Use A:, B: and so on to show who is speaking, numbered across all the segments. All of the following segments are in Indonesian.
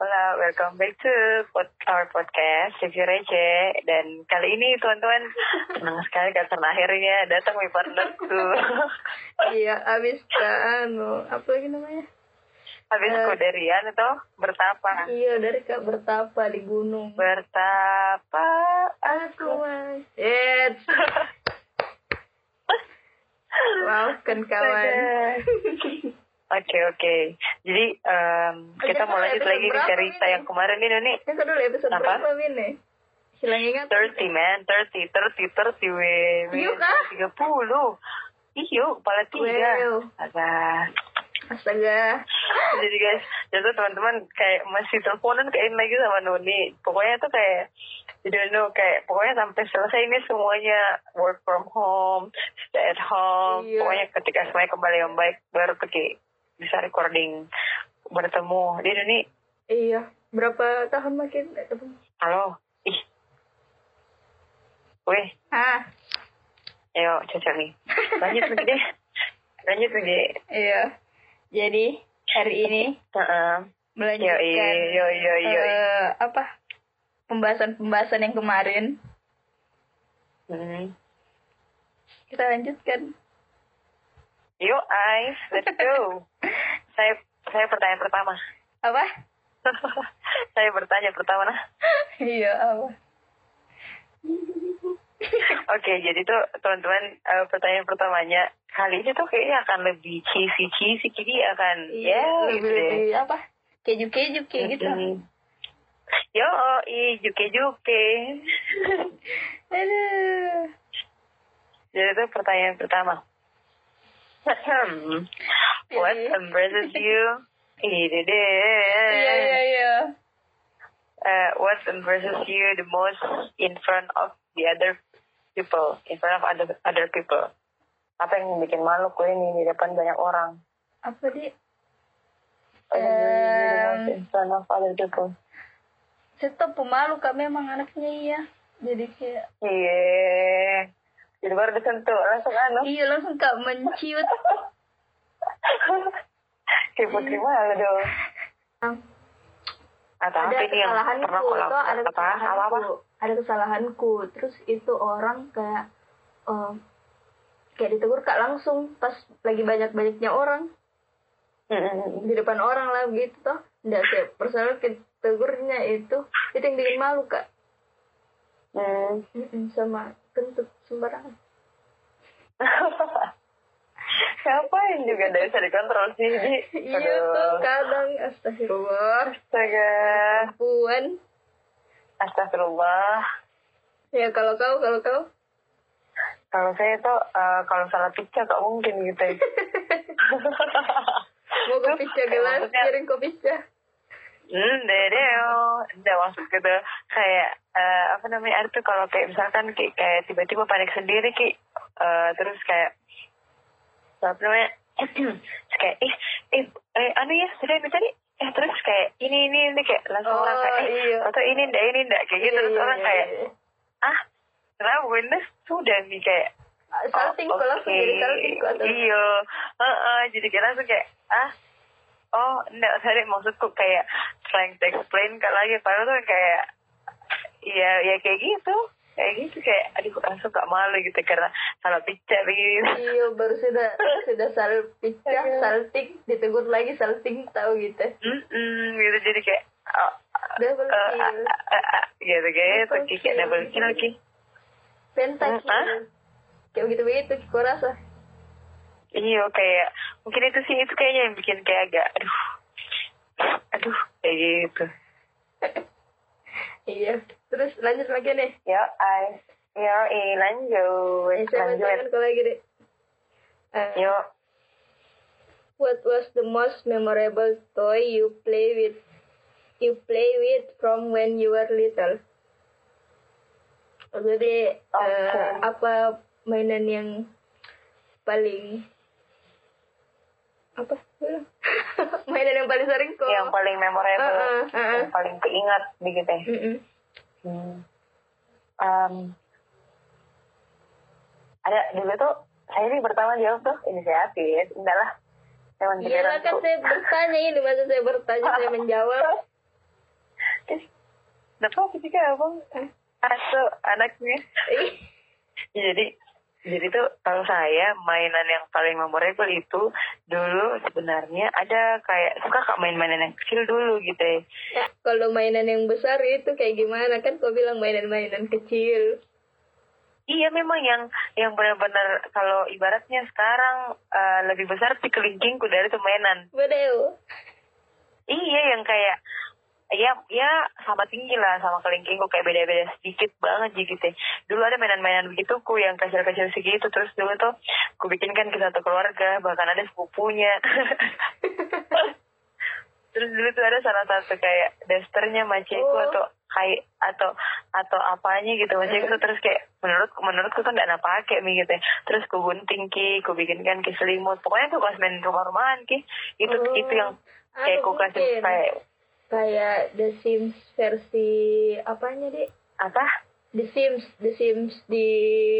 A: welcome back to pod- our podcast Review Receh Dan kali ini tuan-tuan senang sekali karena akhirnya datang nih partnerku
B: Iya, abis ke anu, apa lagi namanya?
A: Habis
B: Eh.
A: kuderian itu bertapa
B: Iya, dari Kak Bertapa di gunung.
A: Bertapa aku
B: Kawan. Yes. Maafkan kawan.
A: Oke oke Jadi em, kita
B: Ada
A: mau lanjut
B: episode
A: lagi ke
B: berapa
A: cerita
B: ini?
A: yang kemarin ini nih
B: Ini dulu episode
A: Apa?
B: berapa, Min? nih? Hilang ingat.
A: 30 man, 30, 30, 30 we, we
B: Iyo Iya kah?
A: 30 Iyo, kepala tiga
B: Wow.
A: Alah
B: Astaga.
A: Jadi guys, jadi teman-teman kayak masih teleponan kayak lagi sama Noni. Pokoknya tuh kayak jadi no kayak pokoknya sampai selesai ini semuanya work from home, stay at home.
B: Iya.
A: Pokoknya ketika semuanya kembali yang baik baru pergi bisa recording bertemu. Jadi Noni,
B: Iya. Berapa tahun makin?
A: halo, ih, weh,
B: Ah,
A: ayo cocok nih. Lanjut lagi deh, lanjut lagi.
B: iya. Jadi hari ini
A: Heeh.
B: melanjutkan
A: Yoi, yoi, yoi, yoi.
B: eh, apa pembahasan-pembahasan yang kemarin
A: Hmm.
B: kita lanjutkan
A: Yuk, I, let's go. saya saya pertanyaan pertama.
B: apa
A: saya bertanya pertama nah.
B: iya apa
A: Oke, jadi tuh teman-teman eh, pertanyaan pertamanya kali ini tuh kayaknya akan lebih cheesy cheesy jadi akan ya gitu
B: Iya,
A: deh. Iya,
B: lebih apa keju keju kayak gitu
A: Mm-mm. Yo, i juke juke.
B: aduh
A: Jadi itu pertanyaan pertama. Hmm, What
B: Jadi-
A: embarrasses you? Ini deh. Eh.
B: iya iya iya
A: uh, what impresses you the most in front of the other people, in front of other other people? Apa yang bikin malu gue ini di depan banyak orang?
B: apa di
A: Apa
B: Em.
A: yang bikin malu gue in front of other people.
B: tetap pemalu kak memang anaknya iya jadi kayak
A: Iya. Jadi baru disentuh langsung anu.
B: iya langsung kak menciut
A: Kayak putri malu dong. Atau
B: ada
A: apa ini yang
B: kesalahanku
A: pernah kalau
B: itu ada
A: apa apa apa?
B: kesalahanku ada kesalahanku terus itu orang kayak eh, kayak ditegur kak langsung pas lagi banyak banyaknya orang
A: Mm-mm.
B: di depan orang lah gitu toh nggak kayak personal tegurnya itu itu yang bikin malu kak
A: Mm.
B: Mm-mm, sama kentut sembarangan
A: Hmm. Ngapain juga dari bisa dikontrol sih? Di.
B: iya tuh
A: Aduh.
B: kadang astagfirullah
A: Astaga.
B: perempuan
A: Astagfirullah.
B: ya kalau kau kalau kau
A: Kalau saya tuh eh, kalau salah pizza gak mungkin gitu.
B: mau kopi cah gelas kirim kopi cah
A: Hmm, dedeo. Enggak maksud gitu. Kayak, eh, apa namanya, ada tuh kalau kayak misalkan kayak, kayak tiba-tiba panik sendiri, Ki. Eh, terus kayak, apa namanya, terus kayak, ih, ih, eh, anu ya, sudah ini tadi. Eh, terus kayak, ini, ini, ini, kayak langsung orang kayak, eh,
B: iya
A: atau ini, ndak, ini, ndak, kayak gitu.
B: Iya,
A: Terus
B: iya,
A: orang
B: iya,
A: kayak,
B: iya.
A: ah, kenapa gue ini sudah nih, kayak,
B: Ah, salting kok langsung jadi salting kok atau
A: "Oh, Iya. Heeh, jadi kayak langsung kayak ah oh enggak tadi maksudku kayak trying to explain kalau lagi padahal tuh kayak ya ya kayak gitu kayak gitu kayak aduh langsung gak malu gitu karena kalau picture gitu." begini
B: iya baru sudah sudah sal picah
A: Aduh.
B: salting ditegur lagi salting tahu gitu
A: mm gitu jadi kayak oh,
B: double
A: eh, ah,
B: kill
A: ah, ah, ah, gitu gitu
B: Double
A: kayak kayak double
B: kill. Iya.
A: kill lagi
B: pentak
A: Hah?
B: kayak begitu begitu kau rasa
A: iya kayak mungkin itu sih itu kayaknya yang bikin kayak agak aduh aduh kayak gitu
B: iya terus lanjut lagi nih
A: Ya, I. Ya,
B: Eh,
A: eh, lanjut. Iya,
B: saya
A: Lanjut.
B: lanjutkan kau lagi deh Eh,
A: Yo,
B: what was the most memorable toy you play with you play with from when you were little jadi eh,
A: Okay.
B: apa mainan yang paling apa mainan yang paling sering kok
A: yang paling memorable,
B: Heeh, heeh.
A: yang paling keingat begitu ya.
B: Mm-mm.
A: Hmm. Um, ada dulu tuh, saya ini pertama jawab tuh inisiatif, enggak lah. Saya
B: kan Iya lah, kan saya bertanya ini masa saya bertanya saya menjawab.
A: Eh, nggak tahu ketika abang asuh anaknya. jadi jadi tuh kalau saya mainan yang paling memorable itu dulu sebenarnya ada kayak suka kak main-mainan yang kecil dulu gitu ya.
B: Ya, kalau mainan yang besar itu kayak gimana kan kau bilang mainan-mainan kecil
A: Iya memang yang yang benar-benar kalau ibaratnya sekarang eh, lebih besar si kelingkingku dari tuh mainan.
B: Bedeo
A: Iya yang kayak ya ya sama tinggi lah sama kelingkingku kayak beda-beda sedikit banget gitu. ya. Dulu ada mainan-mainan begitu ku yang kecil-kecil segitu terus dulu tuh ku bikinkan ke satu keluarga bahkan ada sepupunya. terus dulu tuh ada salah satu kayak dasternya maciku
B: Oh.
A: atau kayak atau atau apanya gitu maciku tuh terus kayak menurut menurutku tuh nggak napake mi gitu ya. terus ku gunting ki ku bikinkan ki selimut pokoknya tuh kalau main rumah-rumahan ki itu
B: Oh.
A: itu yang kayak
B: Anu
A: ku kasih
B: mungkin.
A: kayak
B: kayak The Sims versi apanya deh
A: apa
B: The Sims The Sims di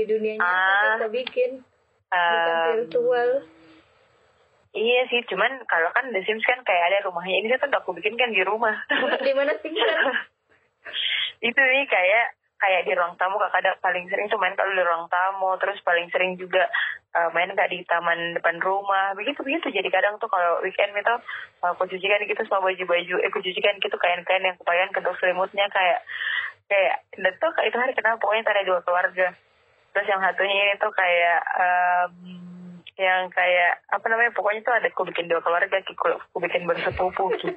B: dunia nyata
A: Ah.
B: kita bikin bukan
A: Ehm,
B: virtual
A: iya sih cuman kalau kan The Sims kan kayak ada rumahnya ini tuh aku bikin kan di rumah
B: di mana tinggal
A: itu nih kayak kayak di ruang tamu kakak ada paling sering tuh main kalau di ruang tamu terus paling sering juga eh, main kayak di taman depan rumah begitu begitu jadi kadang tuh kalau weekend itu aku cucikan gitu sama baju-baju eh aku cucikan gitu kain-kain yang kebayang kedok selimutnya kayak kayak dan tuh kayak itu hari kenapa pokoknya ada dua keluarga terus yang satunya itu kayak em, yang kayak apa namanya pokoknya tuh ada aku bikin dua keluarga aku, aku bikin bersepupu gitu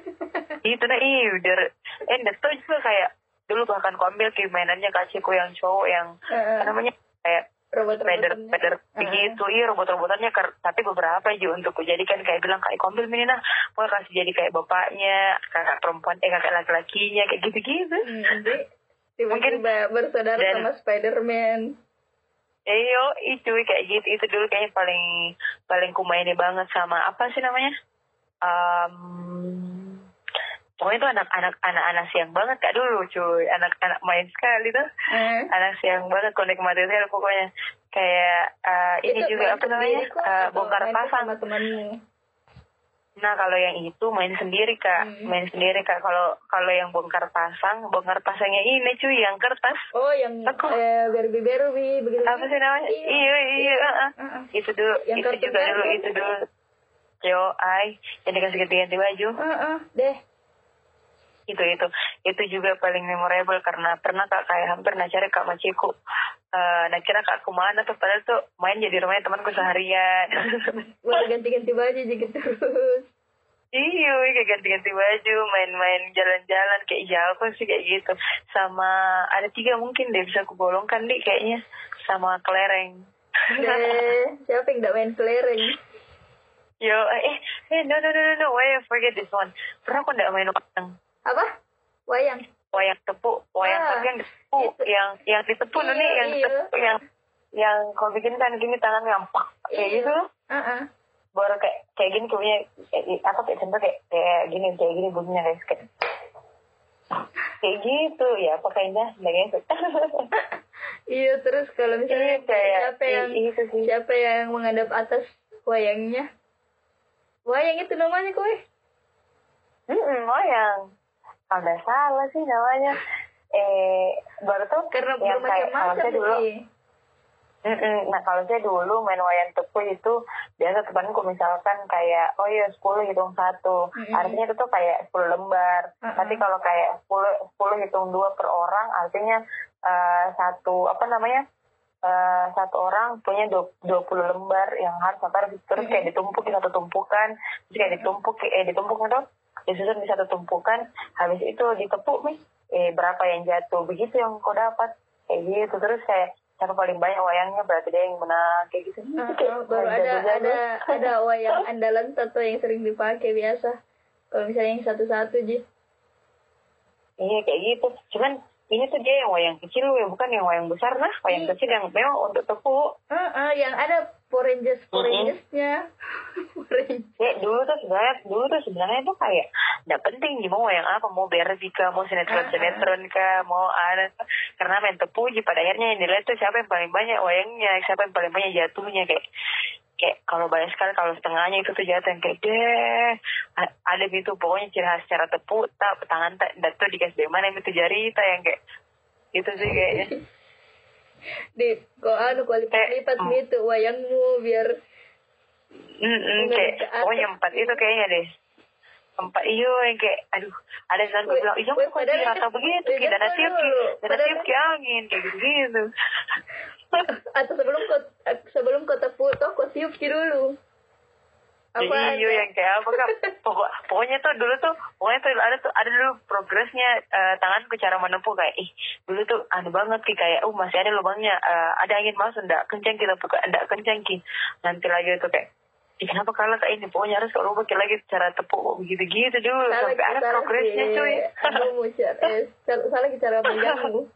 A: itu nah iya udah eh dan tuh juga kayak dulu bahkan aku ambil ke mainannya kasihku yang cowok yang apa namanya kayak
B: robot
A: peder peder begitu iya robot-robotannya ker- tapi beberapa aja untuk ku jadikan kayak bilang kayak aku ambil ini nah mau kasih jadi kayak bapaknya kakak perempuan eh kakak laki-lakinya kayak gitu-gitu Mungkin-
B: tiba-tiba bersaudara
A: dan-
B: sama Spiderman
A: Iyo, itu kayak gitu itu dulu kayaknya paling paling kumaini banget sama apa sih namanya? Um, pokoknya itu anak-anak anak-anak siang banget kak dulu cuy anak-anak main sekali tuh
B: Eh,
A: anak siang banget konek mati sekali pokoknya kayak eh,
B: itu
A: ini
B: main
A: juga apa namanya
B: sendiri kok
A: Eh,
B: atau
A: bongkar
B: main
A: pasang
B: sama temanmu
A: Nah kalau yang itu main sendiri kak,
B: Hmm.
A: main sendiri kak. Kalau kalau yang bongkar pasang, bongkar pasangnya ini cuy yang kertas.
B: Oh, yang
A: Aku-
B: eh, Barbie Barbie begitu.
A: Apa sih namanya?
B: Iya.
A: Iya iya. heeh.
B: Heeh.
A: Itu dulu,
B: Yang kan?
A: itu
B: kartu
A: juga dulu,
B: merah.
A: itu dulu. Yo, ay, yang dikasih ganti-ganti baju.
B: Heeh, deh.
A: Itu itu, gitu, itu juga paling memorable karena pernah kak kayak hampir nah cari kak maciku. Eh, nah kira kak kemana tuh padahal tuh main jadi rumahnya temanku seharian.
B: Boleh ganti-ganti baju gitu. juga terus.
A: Iya, kayak ganti-ganti baju, main-main jalan-jalan kayak iya aku sih kayak gitu. Sama ada tiga mungkin deh bisa aku bolongkan deh kayaknya sama kelereng.
B: Deh, siapa yang gak main kelereng?
A: Yo, eh, eh, no, no, no, no, no, why I forget this one. Pernah aku nggak main wayang,
B: Apa? Wayang.
A: wayang tepuk, wayang
B: Ah,
A: tapi yang tepuk,
B: itu.
A: yang yang ditepuk
B: Iya,
A: nih, yang
B: iya.
A: ditepuk, yang yang kau bikin kan gini tangan yang pak kayak
B: Iya.
A: gitu.
B: Heeh.
A: Baru kayak kayak gini punya apa kayak contoh kayak kayak gini kayak gini bunyinya guys kayak kayak gitu ya pakainya sebagai
B: Iya, terus kalau
A: Iya,
B: misalnya
A: kayak
B: siapa yang
A: i- itu sih.
B: siapa yang menghadap atas wayangnya? Wayang itu namanya kowe.
A: Mm-mm, wayang. Kalau nggak salah sih namanya. Eh, baru tuh
B: Karena
A: yang kayak
B: bermacam-macam
A: kalau saya dulu,
B: sih.
A: Mm-mm. nah kalau saya dulu main wayang tepuk itu biasa temanku misalkan kayak oh iya 10 hitung satu,
B: Mm-mm.
A: artinya itu tuh kayak 10 lembar.
B: Mm-mm.
A: Tapi kalau kayak 10 10 hitung dua per orang, artinya eh, satu apa namanya? eh, satu orang punya dua- 20 lembar yang harus apa harus- terus
B: Mm-hmm.
A: kayak ditumpuk di satu tumpukan terus kayak ditumpuk eh ditumpuk itu disusun di satu tumpukan habis itu ditepuk nih eh berapa yang jatuh begitu yang kau dapat kayak gitu terus kayak siapa paling banyak wayangnya berarti dia yang menang kayak gitu
B: Heeh, Ah, baru ada ada ada wayang andalan satu yang sering dipakai biasa. Kalau misalnya yang satu-satu ji.
A: iya kayak gitu cuman ini tuh dia yang wayang kecil ya bukan yang wayang besar nah wayang
B: Iya.
A: kecil yang memang untuk tepuk
B: Heeh, yang ada Power Rangers, Power
A: Mm-mm.
B: Rangers-nya. Power Rangers.
A: Iya, Ya, dulu tuh sebenarnya dulu tuh sebenarnya tuh kayak nggak penting Ki, mau yang apa mau bersih kah mau sinetron sinetron kah mau ada karena main tepuji pada akhirnya yang dilihat tuh siapa yang paling banyak wayangnya siapa yang paling banyak jatuhnya kayak kayak kalau banyak sekali kalau setengahnya itu tuh jatuh yang kayak deh A- ada gitu pokoknya ciri khas secara tepu tak tangan tak dan tuh dikasih dari mana itu jarita yang kayak gitu sih kayaknya
B: di kok anu kau lipat-lipat
A: Eh,
B: gitu wayangmu biar
A: Mm-mm, kayak
B: Menurut aku-
A: pokoknya empat itu kayaknya deh empat iyo yang kayak aduh ada yang gue
B: Weh,
A: bilang iya
B: weh,
A: kok dia
B: padahal-
A: rata begitu
B: weh,
A: kita
B: jangan
A: nasib
B: dulu.
A: kita
B: Padahal-
A: nasib ke angin kayak gitu gitu
B: atau sebelum kau sebelum kau tepu toh kau tiup ki dulu
A: iyo yang kayak apa kan pokok pokoknya tuh dulu tuh pokoknya tuh ada tuh ada dulu progresnya eh, tanganku cara menempuh kayak ih dulu tuh aneh banget ki kayak uh masih ada lubangnya eh, ada angin masuk ndak kencang kita buka ndak kencang ki nanti lagi itu kayak Ih, kenapa kalah kayak ini? Pokoknya harus kalau pakai lagi cara tepuk begitu-gitu dulu.
B: salah
A: Sampai ada progresnya cuy.
B: kamu cara eh, salah salah ki cara megangmu
A: Oh,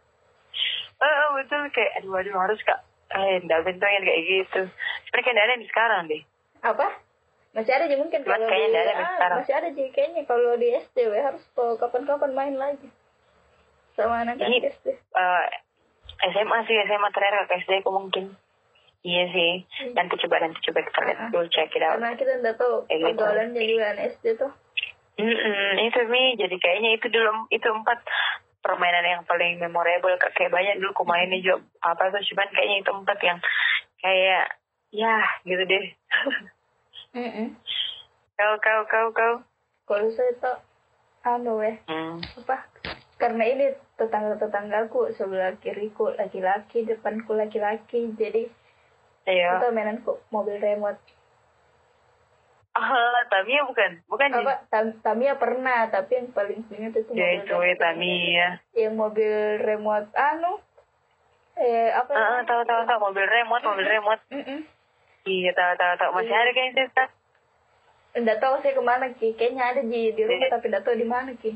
A: oh, betul kayak aduh aduh harus kak eh nggak bentongan kayak gitu sebenarnya kayak nggak ada yang sekarang deh
B: apa masih ada aja mungkin
A: Cuman
B: kalau
A: kayaknya
B: di
A: nggak ada
B: ah,
A: sekarang.
B: masih ada sih kayaknya kalau di SDW harus kalau kapan-kapan main lagi sama anak
A: Ini-
B: anak SD
A: Eh, SMA sih SMA terakhir ke SD aku mungkin iya sih nanti coba nanti coba kita lihat dulu check it out
B: Hmm. Ah. karena kita nggak tahu
A: Kayak gitu.
B: pergaulannya juga anak SD tuh
A: Mm-mm, itu mi jadi kayaknya itu dulu itu empat permainan yang paling memorable Kak. kayak banyak dulu aku mainnya juga apa tuh cuman kayaknya itu empat yang kayak ya gitu deh kau kau kau kau
B: kalau saya tuh anu weh
A: hmm.
B: apa karena ini tetangga tetanggaku sebelah kiriku laki-laki depanku laki-laki jadi
A: Ayo.
B: itu mainanku mobil remote
A: Ah, Tamiya bukan, bukan Jin.
B: apa Tam- Tamiya pernah tapi yang paling ingat itu
A: Kan Ya itu ya, Tamiya.
B: yang mobil remote anu eh apa
A: Ah, ah, tahu tahu tahu mobil remote, mobil remote.
B: Mm-mm.
A: Iya tahu tahu tahu masih ada kan Sista?
B: nggak tahu saya kemana ki kayaknya ada di di rumah tapi nggak tahu di mana ki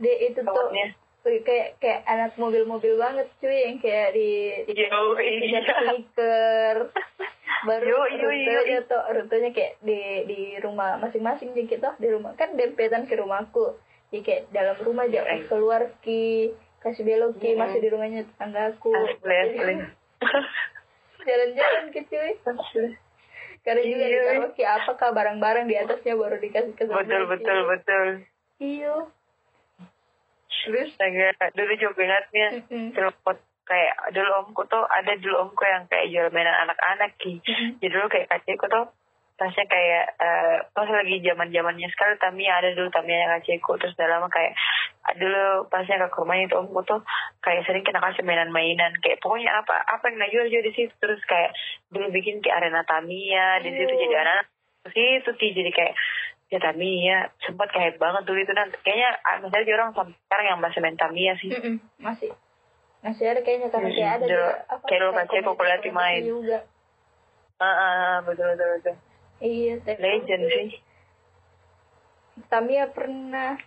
B: dia itu tuh
A: Remote-nya.
B: kayak kayak anak mobil-mobil banget cuy yang kayak di di
A: Yo
B: tidak
A: iya.
B: stiker baru
A: Yo, yo, yo,
B: rutenya tuh rutenya kayak di di rumah masing-masing jadi kita di rumah kan dempetan ke rumahku jadi kayak dalam rumah aja
A: Iya.
B: keluar ki kasih belok ki
A: Iya.
B: masih di rumahnya tetanggaku
A: Asli asli.
B: jalan-jalan ke cuy
A: Asli.
B: karena juga
A: Iya.
B: ditaruh ki apakah barang-barang di atasnya baru dikasih ke sana, Iya.
A: Betul
B: ki.
A: betul betul.
B: iyo
A: Terus Hmm. saya dulu juga ingatnya
B: Mm-mm.
A: telepon kayak dulu omku tuh ada dulu omku yang kayak jual mainan anak-anak ki.
B: Mm-mm.
A: Jadi Ya, dulu kayak kakekku tuh tasnya kayak eh, pas lagi zaman zamannya sekali Tamiya ada dulu Tamiya yang kakekku terus udah lama kayak ah, dulu pasnya ke rumahnya itu omku tuh kayak sering kena kasih mainan-mainan kayak pokoknya apa apa yang dijual jual di situ terus kayak dulu bikin kayak arena Tamiya di situ
B: Iya.
A: jadi anak situ sih jadi kayak ya Tamiya sempat kayak banget dulu itu nanti kayaknya ah, misalnya dia orang sampai sekarang yang masih main Tamiya sih
B: Mm-mm. masih masih ada kayaknya karena
A: Mm-mm.
B: kayak ada
A: Dulu
B: juga, apa,
A: kayak lu
B: kayak
A: kasih aku kuliah di main.
B: komunitas-komunitas juga
A: ah ah, ah, betul betul betul
B: iya tapi-
A: legend sih
B: Tamiya pernah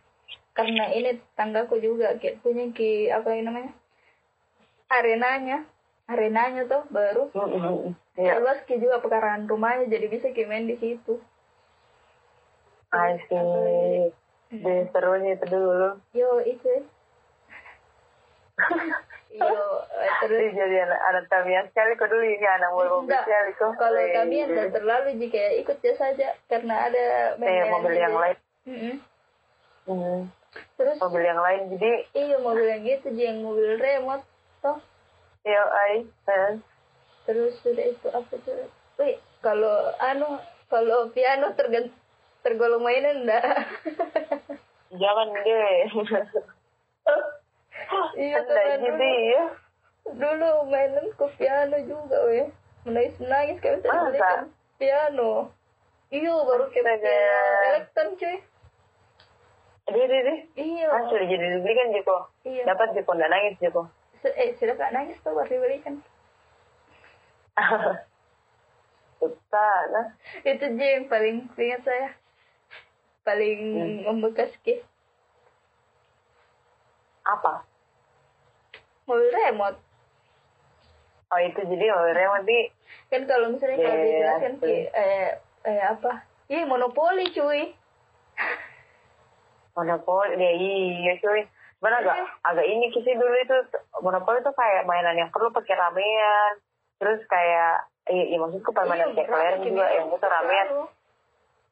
B: karena ini tetanggaku juga kayak punya ki apa yang namanya arenanya arenanya tuh baru
A: Mm-mm. Iya.
B: luas ki juga pekarangan rumahnya jadi bisa ki main di situ
A: Asik. Deh, seru nih itu dulu.
B: yo itu yo eh, terus
A: Jadi jadi anak, anak Tamiya sekali kok dulu ini anak mobil mobil
B: Enggak.
A: sekali kok.
B: kalau
A: Eh,
B: kami tidak terlalu jika ya, ikut biasa aja karena ada
A: Kayak
B: mainan
A: Eh, mobil yang
B: gitu.
A: lain.
B: Mm-mm.
A: Hmm.
B: terus
A: Mobil yang lain jadi
B: iya mobil yang gitu Ji, yang mobil remote toh
A: ya ay. eh.
B: terus sudah itu apa tuh wih kalau anu kalau piano tergen tergolong mainan enggak
A: Jangan deh.
B: Iya,
A: Anda
B: teman
A: gitu
B: dulu.
A: ya.
B: dulu mainanku piano juga weh menangis nangis kan bisa
A: Masa?
B: dibelikan piano iyo baru ke
A: Astaga.
B: piano elektron cuy Iya.
A: Deh deh deh.
B: iyo
A: Asli jadi dibelikan Joko.
B: iya
A: Dapat Joko nggak nangis Joko.
B: Se- eh sudah gak nangis tuh baru dibelikan
A: Susah nah.
B: itu Ji, yang paling ingat saya paling
A: Hmm.
B: membekas ki
A: Apa?
B: mobil remote
A: Oh itu jadi mobil remote di
B: kan kalau misalnya kan kalau
A: Iya,
B: eh, dijelasin
A: betul.
B: ki eh, eh apa iya monopoli cuy
A: monopoli ya iya cuy cuman agak
B: Iya.
A: agak ini sih dulu itu monopoli tuh kayak mainan yang perlu pakai ramean terus kayak iya, iya maksudku permainan
B: Iya,
A: kayak keler
B: berat,
A: juga
B: gini.
A: yang itu ramean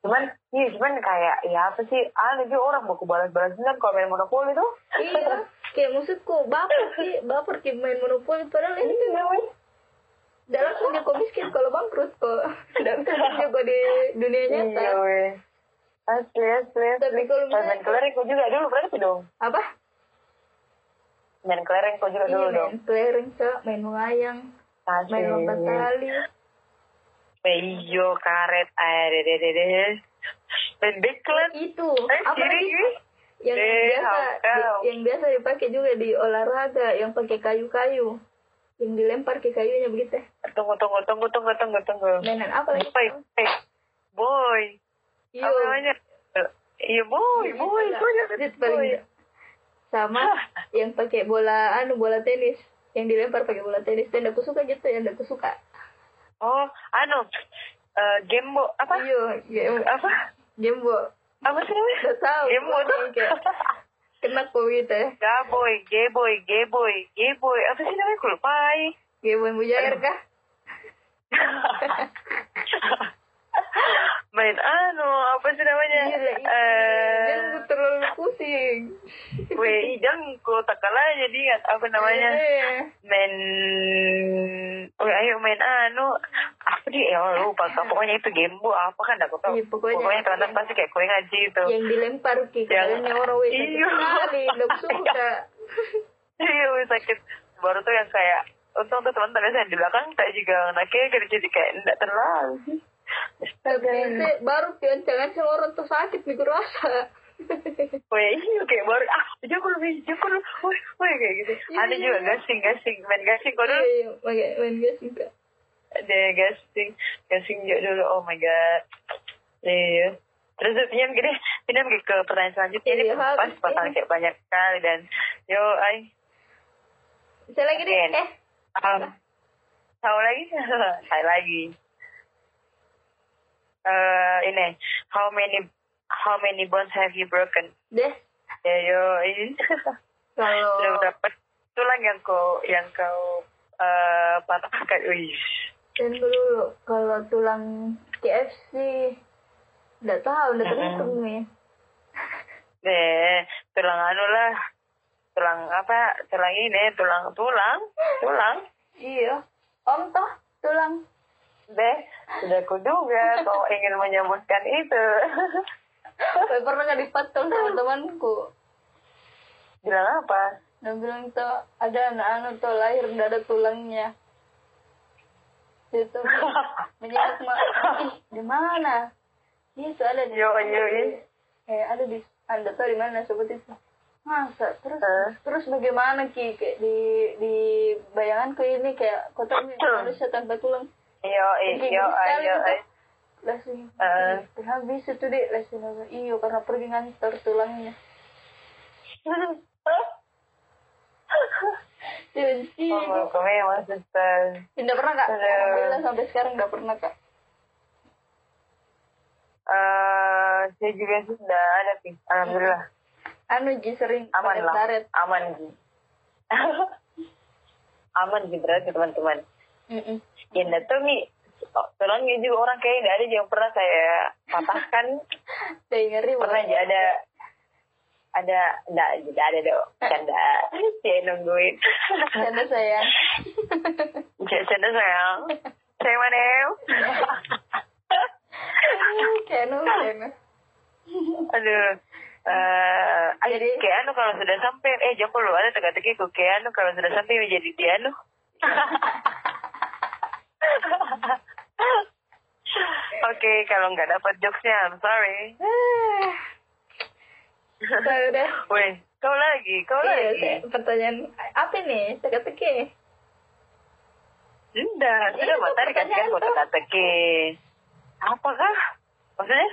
A: cuman iya cuman kayak ya apa sih ada juga orang mau balas-balas dendam kalau main monopoli tuh
B: Iya. Kayak maksudku baper sih, baper sih main monopoli. Padahal ini kan
A: namanya
B: dalam dunia kok miskin kalau bangkrut kok. Dan juga di dunia nyata.
A: iya weh asli asli asli
B: Tapi kalau
A: Pas main
B: misalnya-
A: kelereng kok juga dulu berarti dong
B: Apa?
A: main kelereng kok juga
B: Ini
A: dulu dong
B: main kelereng, Cok. Main wayang. Iya,
A: asli
B: Main lompat tali.
A: Peyo karet air deh deh deh. Pendeklan.
B: Kan Itu.
A: Eh,
B: Apa
A: kiri,
B: lagi?
A: kiri.
B: Yang
A: Eh,
B: biasa,
A: hafal.
B: di- yang biasa dipakai juga di olahraga, yang pakai kayu-kayu, yang dilempar ke kayunya begitu.
A: Tunggu tunggu tunggu tunggu tunggu tunggu.
B: Mainan apa lagi?
A: Boy, boy, boy.
B: Iyo.
A: Apa namanya? Iya boy, boy, boy,
B: Itu
A: boy.
B: paling- sama yang pakai bola anu bola tenis yang dilempar pakai bola tenis dan aku suka gitu yang aku suka
A: Oh, anu, eh, gembo apa?
B: iyo game
A: Apa?
B: gamebo
A: Apa sih namanya?
B: Nggak tahu.
A: Gembo tuh.
B: Kayak- kena kok gitu ya
A: Gaboy, geboy, geboy, geboy. Apa sih namanya? Kulpai.
B: game yang mujair kah
A: Main anu, apa sih namanya?
B: Gila, itu.
A: Eh,
B: Game gue terlalu pusing
A: Wei, jangko tak kalah jadi ingat apa namanya?
B: Iya.
A: Main Wei, ayo main anu. Apa dia? Ya Allah, lupa. Pokoknya itu game bu apa kan aku tahu.
B: Iya, pokoknya- Iya.
A: teman-teman pasti kayak kue ngaji itu.
B: yang dilempar ke kepalanya orang weh sakit
A: Iyo.
B: sekali nggak suka
A: Iya, wei, sakit. Baru tuh yang kayak untung tuh teman-teman saya di belakang tak juga anaknya gitu, jadi jadi kayak enggak terlalu.
B: tapi nanti baru pioncangan sama orang tuh sakit mikir rasa
A: Woi, iya kayak baru ah jokul woi jokul woi woi kayak gitu.
B: Iya,
A: Ada
B: iya,
A: juga
B: iya.
A: gasing gasing main gasing kau dulu.
B: iya iya main gasing kak
A: ada gasing gasing juga dulu oh my god iya terus tuh pinjam gini pinjam gini ke pertanyaan selanjutnya ini
B: Iya,
A: pas
B: harus,
A: pasangan
B: iya.
A: kayak banyak sekali dan yo ay
B: saya lagi deh
A: Again.
B: eh
A: um, tahu lagi saya lagi Eh ini how many how many bones have you broken
B: deh
A: ya yo ini sudah
B: kalau
A: berapa tulang yang kau yang kau eh patahkan wih
B: Dan dulu kalau tulang KFC nggak tahu nggak terhitung nih.
A: Eh, tulang anu lah. Tulang apa? Tulang ini, tulang, tulang, tulang.
B: Iya. Om toh tulang.
A: Deh, sudah kuduga kau ingin menyebutkan itu.
B: Gue pernah nggak dipotong sama temanku.
A: Bilang apa?
B: Dia bilang tuh ada anak-anak tuh lahir nggak ada tulangnya. Gitu. Itu menyebut mak. "Ih, Di mana? Itu ada di.
A: Yo, yo, yo.
B: Eh ada di. Anda tahu di mana seperti itu. Masa terus
A: Eh.
B: terus bagaimana ki kayak di di bayanganku ini kayak kotor nih, manusia tanpa tulang gitu,
A: Yo, eh, yo, eh, yo, eh.
B: langsung
A: Eh.
B: habis itu deh langsung bilang, iyo karena pergi ngantor tulangnya benci
A: Oh, kau memang susah.
B: tidak pernah kak
A: Aduh.
B: alhamdulillah sampai sekarang nggak pernah kak
A: Eh, saya juga sudah ada sih. Alhamdulillah.
B: anu ji sering
A: Aman lah.
B: karet
A: Aman, Ji. Aman, Ji, berarti teman-teman. Ya, nggak tahu nih. Tolongnya juga orang kayaknya nggak ada yang pernah saya patahkan.
B: saya ngeri
A: pernah
B: banget
A: aja ada ada nggak nggak ada dong canda saya nungguin
B: karena saya
A: Canda- canda sayang saya mana ya?
B: kayaknya kayaknya
A: aduh eh ay,
B: Jadi-
A: kayak anu kalau sudah sampai eh joko lu ada teka-teki ku kayak anu kalau sudah sampai menjadi dia anu Oke, kalau nggak dapat jokesnya, I'm sorry.
B: saya Eh, udah
A: Weh, kau lagi, kau
B: iya
A: lagi.
B: saya- pertanyaan apa nih teka-teki
A: Tidak,
B: Iya,
A: sudah
B: itu
A: matahari kan
B: pertanyaan
A: kau
B: tuh.
A: teka-teki. Apakah? Maksudnya?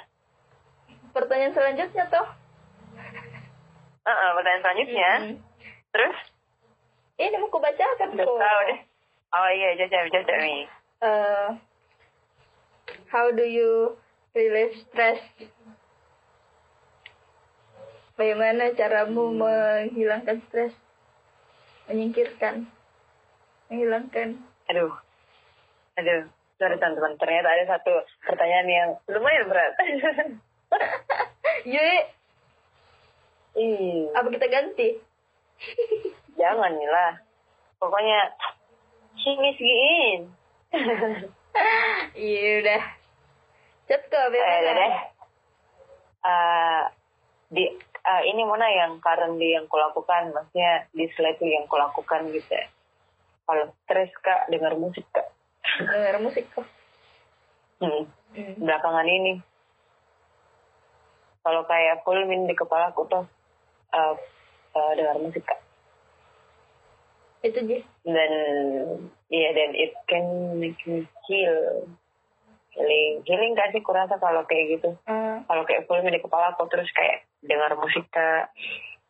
B: pertanyaan selanjutnya toh
A: Eh, eh, pertanyaan selanjutnya.
B: Mm-mm.
A: Terus?
B: Hmm. Eh, ini mau kubacakan
A: Tidak
B: kok
A: tahu deh. Oh iya, jajami, jajami.
B: uh, how do you relieve stress? Bagaimana caramu
A: Hmm.
B: menghilangkan stres? Menyingkirkan. Menghilangkan.
A: Aduh. Aduh. Sorry teman-teman, ternyata ada satu pertanyaan yang lumayan berat.
B: Yuk,
A: Ih,
B: apa kita ganti?
A: jangan nih lah. Pokoknya, singis-giin. Eh,
B: Iya udah. Cetko,
A: Eh,
B: bagaimana?
A: deh. Eh, di eh, ini mana yang currently yang kulakukan, maksudnya di slide yang kulakukan gitu. ya. Kalau stres kak, dengar musik kak.
B: Dengar musik kok.
A: Hmm,
B: Hmm.
A: belakangan ini. Kalau kayak full min di kepala aku tuh eh, eh, dengar musik kak.
B: Itu aja.
A: Dan iya dan it can make me heal. Healing, healing gak sih kurasa kalau kayak gitu?
B: Eh,
A: kalau kayak volume di kepala aku terus kayak dengar musik kak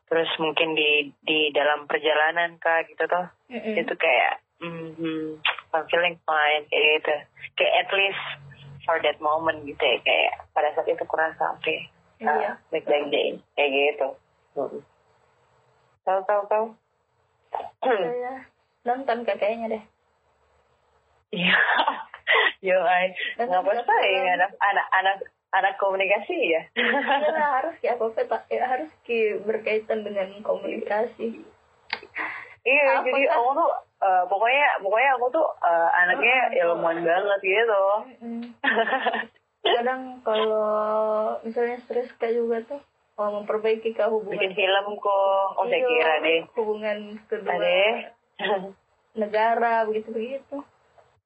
A: terus mungkin di di dalam perjalanan kak gitu toh
B: mm-mm.
A: itu kayak mm, mm, I'm feeling fine kayak gitu kayak at least for that moment gitu ya kayak pada saat itu kurasa oke
B: Iya.
A: ah, baik baik deh kayak gitu Mm. tahu tahu tahu
B: Saya nonton kak kayaknya deh.
A: Iya. Yo, ay.
B: Dan
A: Ngapa
B: terus
A: sih
B: terang.
A: ya, anak anak anak anak komunikasi ya?
B: Iya lah, harus ya apa ya, harus ki berkaitan dengan komunikasi.
A: Iya,
B: Apa
A: jadi
B: kan?
A: aku tuh eh, pokoknya pokoknya aku tuh eh, anaknya
B: Oh, iya.
A: ilmuwan banget gitu.
B: Mm-mm. Kadang kalau misalnya stres kak juga tuh, kalau memperbaiki kak
A: Bikin
B: hubungan.
A: film kok, oh saya
B: Iya,
A: kira deh.
B: Hubungan kedua
A: Ade.
B: negara begitu begitu.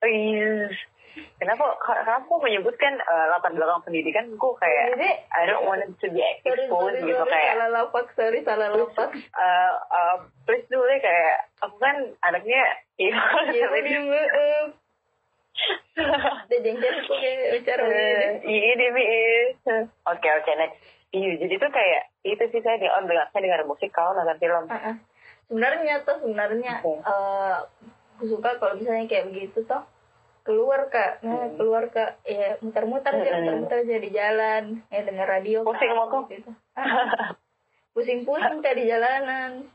A: Oh, iya. Kenapa kenapa aku menyebutkan eh, latar belakang pendidikan ku kayak
B: Jadi
A: I don't want it to be
B: sorry sorry,
A: exposed gitu
B: sorry,
A: kayak
B: salah lapak sorry salah lapak.
A: eh, eh, please dulu deh kayak aku kan anaknya iya
B: Iya
A: tapi
B: tadi maaf. Udah janjian aku kayak bicara ini.
A: Eh, Iya, iya, iya. Oke, oke, next. Iya, jadi tuh kayak itu sih saya di on saya dengar musik kalau nonton film.
B: Uh-uh. Sebenarnya tuh sebenarnya
A: Oke.
B: eh, aku suka kalau misalnya kayak begitu toh keluar kak, nah,
A: Hmm.
B: keluar kak, ya muter-muter aja,
A: Mm-mm.
B: muter-muter aja di jalan, ya dengar radio. Kak,
A: Pusing sama aku.
B: gitu. Ah, Pusing-pusing kak di jalanan.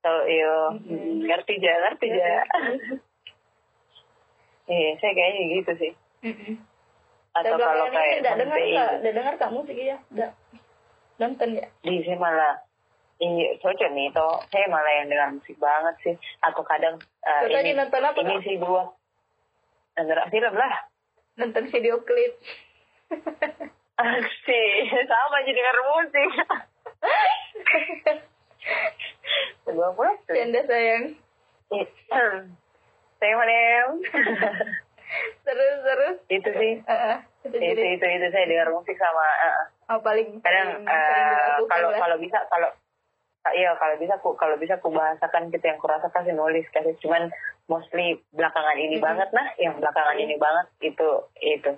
A: so, iya,
B: Mhm.
A: ngerti aja, ngerti aja.
B: Iya.
A: Iya, saya kayaknya gitu sih.
B: Mm-mm.
A: Atau
B: Dan
A: kalau
B: belakangan ini
A: kayak
B: nggak dengar
A: sampai
B: kak, nggak dengar kak musik ya, nggak nonton ya.
A: di sini malah Iya, cocok nih toh. Saya malah yang dengar musik banget sih. Atau kadang eh,
B: Kau tadi
A: ini,
B: nonton apa
A: ini
B: kak?
A: sih dua. Dengar film lah.
B: Nonton video klip.
A: Sih, sama aja dengar musik. Kedua pula. tuh.
B: Canda sayang.
A: Iya. Saya malam.
B: Terus terus.
A: itu sih.
B: Ah, ah, itu
A: Itu,
B: jadi
A: itu, itu. Saya dengar musik sama. eh,
B: oh, paling paling sering
A: kadang
B: ya.
A: eh,
B: dilakukan
A: kalau
B: lah.
A: kalau bisa kalau ah, iya kalau bisa ku kalau bisa ku bahasakan gitu yang kurasa kasih nulis kasih cuman mostly belakangan ini
B: Mhm.
A: banget nah yang belakangan ini banget itu itu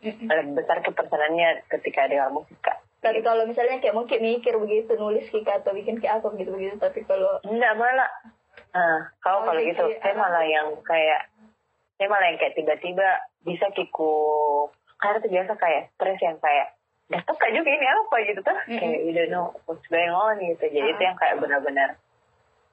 B: Iya. Mm-mm.
A: Ada besar kepesanannya ketika dengar musik kak
B: Tapi kalau misalnya kayak mungkin mikir begitu nulis kika atau bikin kayak apa begitu begitu tapi kalau
A: enggak malah ah
B: Oh,
A: kau kalau
B: jadi
A: gitu saya
B: anak-
A: malah yang kayak saya malah yang kayak tiba-tiba bisa kiku karena tuh biasa kayak stres yang kayak datang kayak juga ini apa gitu tuh
B: Mm-mm.
A: kayak you don't know what's going on gitu jadi itu
B: Ah.
A: yang kayak benar-benar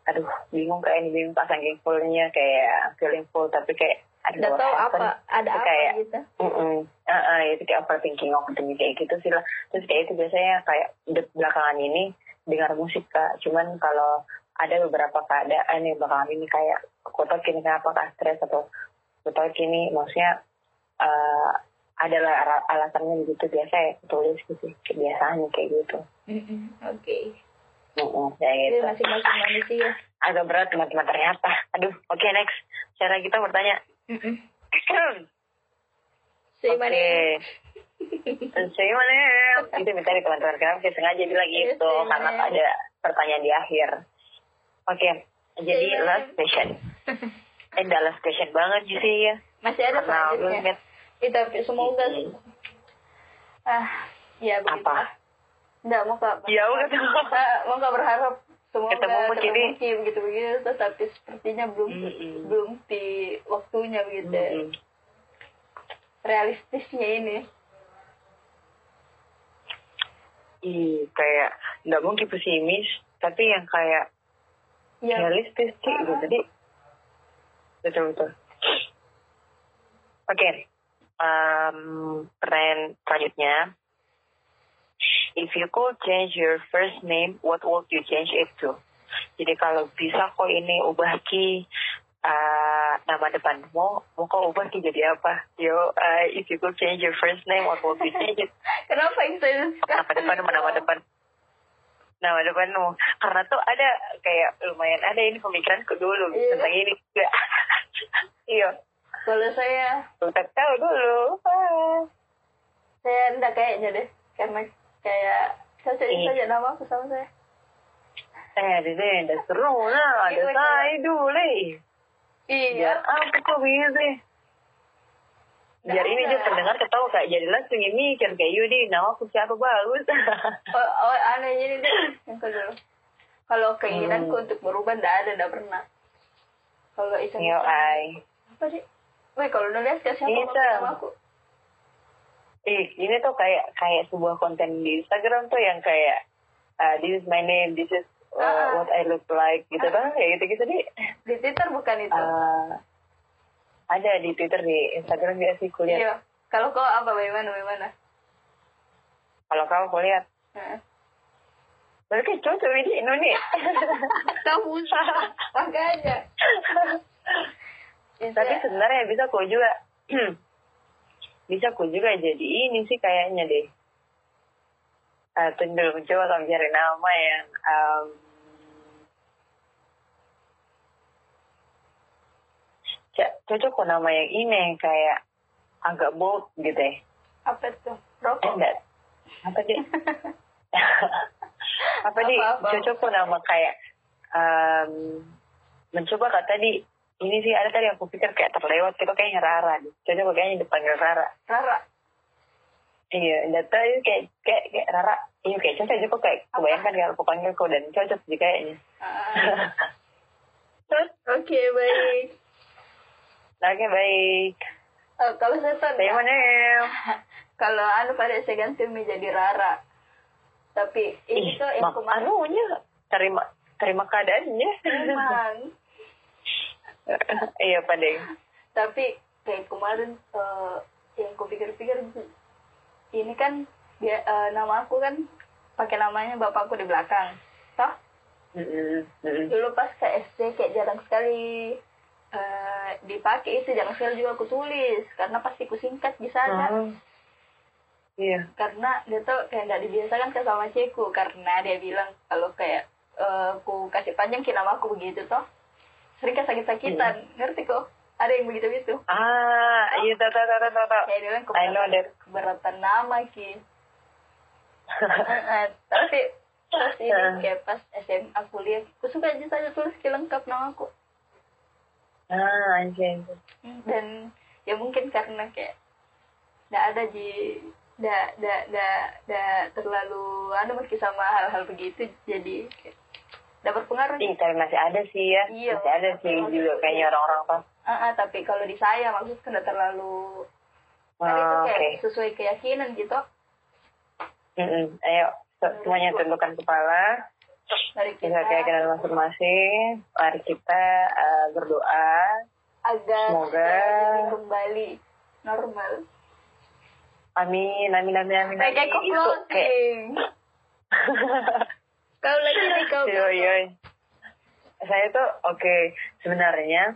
A: aduh bingung kayak ini bingung pas saking fullnya kayak feeling full tapi kayak aduh,
B: nggak
A: what
B: tahu
A: happened?
B: apa ada
A: Itu
B: apa
A: kayak-
B: gitu.
A: Mm-mm. Uh-uh, itu kayak overthinking overthinking kayak gitu sih lah terus kayak itu biasanya kayak de- belakangan ini dengar musik kak cuman kalau ada beberapa keadaan yang belakangan ini kayak kutok ini kenapa kak stres atau kutok ini maksudnya eh adalah ala- alasannya begitu biasa ya tulis gitu kebiasaannya kayak gitu
B: Mm-mm. Oke.
A: Mm-mm, kayak
B: Jadi
A: gitu
B: Iya, masing-masing manusia.
A: agak berat teman-teman ternyata aduh oke next cara kita bertanya
B: Mm-mm.
A: Oke.
B: Say my name.
A: Say my name. Itu minta di teman-teman kenapa saya sengaja bilang
B: Yes,
A: gitu
B: say my
A: karena
B: name.
A: ada pertanyaan di akhir. Oke, jadi
B: my name.
A: last question. Eh, nggak last question banget sih ya. gitu.
B: Masih ada
A: Karena lu
B: selanjutnya.
A: inget
B: Eh, tapi semoga
A: Mm.
B: ah ya begitu.
A: apa?
B: Nggak mau kak.
A: Ya udah
B: Kita mau kak berharap semoga
A: Ketemu mungkin nih.
B: begitu begitu tapi sepertinya belum
A: Mm-mm.
B: belum di waktunya begitu. ya.
A: Mm-mm.
B: Realistisnya ini.
A: Ih, kayak nggak mungkin pesimis, tapi yang kayak
B: Iya.
A: realistis sih gitu. Jadi betul betul. Oke, Em, pertanyaan selanjutnya. If you could change your first name, what would you change it to? Jadi kalau bisa kok ini ubah ki eh, nama depan mau mau kok ubah ki jadi apa? Yo, eh, if you could change your first name, what would you change it?
B: Kenapa Indonesia?
A: nama depan sama nama depan nama depanmu karena tuh ada kayak lumayan ada ini pemikiranku dulu
B: Iya.
A: tentang ini juga iya
B: Kalau saya
A: tak tahu dulu Ah.
B: saya enggak kayaknya deh karena kayak cocoknya
A: Iya.
B: saja nama aku sama saya
A: eh di sini ada seru lah ada
B: Iya, betul.
A: saya dulu eh. biar
B: iya
A: aku kok bisa biar
B: Nggak
A: ini
B: ada.
A: juga pendengar ketahu kayak jadi langsung ini mikir kayak Yudi nama aku siapa bagus
B: oh, oh anehnya ini deh yang kedua kalau keinginanku
A: Hmm.
B: untuk berubah enggak ada enggak pernah kalau iseng
A: yo ay
B: apa sih Wih, kalau nulis ke siapa mau
A: Iseng.
B: sama aku?
A: Ih, Eh, ini tuh kayak kayak sebuah konten di Instagram tuh yang kayak ah, this is my name, this is uh,
B: Ah.
A: what I look like gitu kan kayak gitu-gitu di
B: Di Twitter bukan itu.
A: ah, ada di Twitter di Instagram juga sih kuliah.
B: Iya. Kalau kau apa bagaimana bagaimana?
A: Kalau kamu kuliah,
B: Heeh.
A: berarti cocok ini ini nih.
B: Tahu usah. Makanya.
A: Tapi
B: Iya.
A: sebenarnya bisa kok juga bisa kok juga jadi ini sih kayaknya deh. Ah, tunggu dulu, coba kamu cari nama yang em, ca- cocok kok nama yang ini kayak agak bold gitu ya.
B: apa tuh?
A: Eh,
B: Rokok.
A: enggak. Apa sih? apa sih?
B: Apa-apa.
A: Cocok kok nama kayak em, mencoba kata tadi ini sih ada tadi aku pikir kayak terlewat gitu kayaknya Rara deh. Cocok kok kayaknya dipanggil Rara.
B: Rara.
A: Iya, data itu kayak kayak kayak Rara. Iya kayak cocok aja kok kayak kebayangkan kalau aku panggil kau dan cocok sih kayaknya.
B: Ah. Oke, baik.
A: nah, oke baik.
B: Eh, kalau saya tuh
A: Saya mana?
B: kalau anu pada saya ganti menjadi Rara. Tapi ini tuh yang
A: anu?
B: kemarin
A: anunya terima terima keadaannya.
B: memang.
A: iya, Padeng.
B: Tapi kayak kemarin eh, yang kupikir-pikir ini kan dia eh, nama aku kan pakai namanya bapakku di belakang. Toh
A: Mm-mm, mm-mm.
B: dulu pas ke SD kayak jarang sekali eh, dipakai itu jarang sekali juga aku tulis karena pasti ku singkat di sana.
A: Oh. Iya.
B: karena dia tuh kayak nggak dibiasakan ke sama ceku karena dia bilang kalau kayak eh, ku kasih panjang ke nama aku begitu toh sering kan sakit-sakitan ngerti kok ada yang begitu gitu
A: Ah, iya tahu tahu tahu tahu tahu.
B: kayak dia bilang
A: I know
B: keberatan,
A: that.
B: keberatan nama ki Eh, eh, tapi terus ini kayak pas SMA kuliah aku suka aja saja tulis ki lengkap nama aku
A: ah, anjing.
B: dan ya mungkin karena kayak nggak ada di nggak nggak nggak nggak terlalu anu masih sama hal-hal begitu jadi kayak nggak berpengaruh
A: Ih, tapi masih ada sih ya.
B: Iya.
A: Masih ada sih juga kayaknya orang-orang tuh.
B: Ah, ah, tapi kalau di saya maksudnya nggak terlalu tapi itu
A: Oh,
B: kayak
A: Oke.
B: sesuai keyakinan gitu
A: Mm-mm. Ayo, se- semuanya tundukkan kepala.
B: dari kita
A: Bisa keyakinan masing-masing. Mari kita eh, berdoa.
B: agar
A: Semoga.
B: jadi kembali normal
A: Amin, amin, amin, amin.
B: kayak
A: amin.
B: aku
A: Itu kayak-
B: closing kau lagi nih kau
A: Yoi, yoi. Iya, Saya tuh oke sebenarnya